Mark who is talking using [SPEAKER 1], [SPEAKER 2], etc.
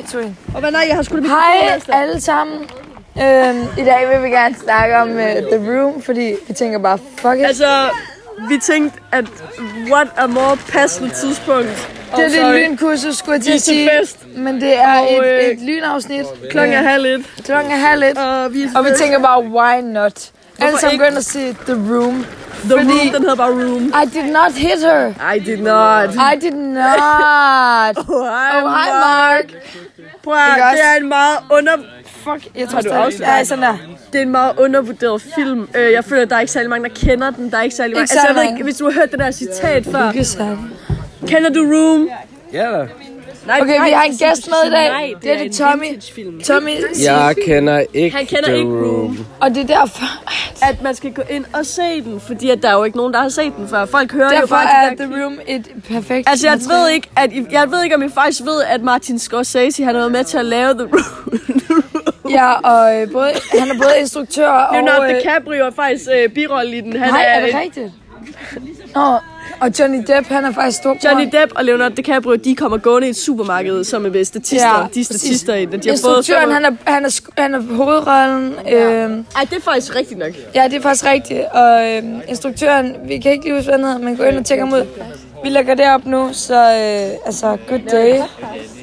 [SPEAKER 1] Factory.
[SPEAKER 2] Og hvad nej, jeg har sgu da mit altså.
[SPEAKER 1] Hej alle sammen. Øhm, I dag vil vi gerne snakke om uh, The Room, fordi vi tænker bare, fuck it.
[SPEAKER 2] Altså, vi tænkte, at what a more passende tidspunkt.
[SPEAKER 1] Det er det
[SPEAKER 2] oh, sorry.
[SPEAKER 1] en lynkursus, skulle jeg til
[SPEAKER 2] Vi
[SPEAKER 1] at
[SPEAKER 2] er til
[SPEAKER 1] sige.
[SPEAKER 2] fest.
[SPEAKER 1] Men det er
[SPEAKER 2] Og, øh,
[SPEAKER 1] et, et lynafsnit.
[SPEAKER 2] Klokken er
[SPEAKER 1] Øh,
[SPEAKER 2] halv et.
[SPEAKER 1] klokken er halv et.
[SPEAKER 2] Og vi, er til
[SPEAKER 1] Og vi
[SPEAKER 2] fest.
[SPEAKER 1] tænker bare, why not? Alle sammen
[SPEAKER 2] ikke?
[SPEAKER 1] begynder at sige The Room.
[SPEAKER 2] The
[SPEAKER 1] fordi-
[SPEAKER 2] Room, den hedder bare Room.
[SPEAKER 1] I did not hit her.
[SPEAKER 2] I did not.
[SPEAKER 1] I did not.
[SPEAKER 2] Oh, hi,
[SPEAKER 1] Oh, hi Mark.
[SPEAKER 2] Prøv at,
[SPEAKER 1] Ikke
[SPEAKER 2] det er en meget under...
[SPEAKER 1] Fuck, jeg tror
[SPEAKER 2] du
[SPEAKER 1] stadig.
[SPEAKER 2] afsløret?
[SPEAKER 1] Ja, sådan der.
[SPEAKER 2] Det er en meget undervurderet film. Øh, Jeg føler, at der er ikke særlig mange, der kender den. Der er ikke særlig mange.
[SPEAKER 1] Ikke
[SPEAKER 2] Altså, jeg
[SPEAKER 1] særlig
[SPEAKER 2] ved
[SPEAKER 1] mange.
[SPEAKER 2] ikke, hvis du har hørt det der citat før.
[SPEAKER 1] Lykkesand.
[SPEAKER 2] Kender du Room?
[SPEAKER 3] Ja da.
[SPEAKER 2] Nej,
[SPEAKER 1] Okay, vi
[SPEAKER 2] nej,
[SPEAKER 1] har en
[SPEAKER 2] så-
[SPEAKER 1] gæst med i dag.
[SPEAKER 2] Nej,
[SPEAKER 1] Det er
[SPEAKER 2] en
[SPEAKER 1] det Tommy.
[SPEAKER 2] vintage-film.
[SPEAKER 1] Tommy,
[SPEAKER 3] Jeg kender ikke
[SPEAKER 2] Han kender
[SPEAKER 3] The
[SPEAKER 2] ikke Room.
[SPEAKER 1] og det er derfor,
[SPEAKER 2] at man skal gå ind og se den, fordi at der er jo ikke nogen, der har set den før. Folk hører jo
[SPEAKER 1] derfor
[SPEAKER 2] bare de
[SPEAKER 1] er
[SPEAKER 2] der
[SPEAKER 1] The Room et perfekt
[SPEAKER 2] Altså, jeg
[SPEAKER 1] materiale.
[SPEAKER 2] ved, ikke, at I, jeg ved ikke, om I faktisk ved, at Martin Scorsese han har været med til at lave The Room.
[SPEAKER 1] Ja, og øh, både, han er både instruktør og...
[SPEAKER 2] Leonardo
[SPEAKER 1] øh,
[SPEAKER 2] DiCaprio er faktisk øh, birolle i den. Han
[SPEAKER 1] nej,
[SPEAKER 2] er,
[SPEAKER 1] er det rigtigt? Nå, og Johnny Depp, han er faktisk stor.
[SPEAKER 2] Johnny Depp og Leonardo DiCaprio, de kommer gående i et supermarked, som er ved statister. Ja, de er
[SPEAKER 1] præcis.
[SPEAKER 2] statister i den. De har fået
[SPEAKER 1] Instruktøren,
[SPEAKER 2] fem-
[SPEAKER 1] han er, han er, sk- han er hovedrollen. Ja. Øhm,
[SPEAKER 2] Ej, det er faktisk rigtigt nok.
[SPEAKER 1] ja, det er faktisk rigtigt. Og øhm, instruktøren, vi kan ikke lige huske, hvad han hedder, men gå ind og tjek ham ud. Vi lægger det op nu, så øh, altså, good day.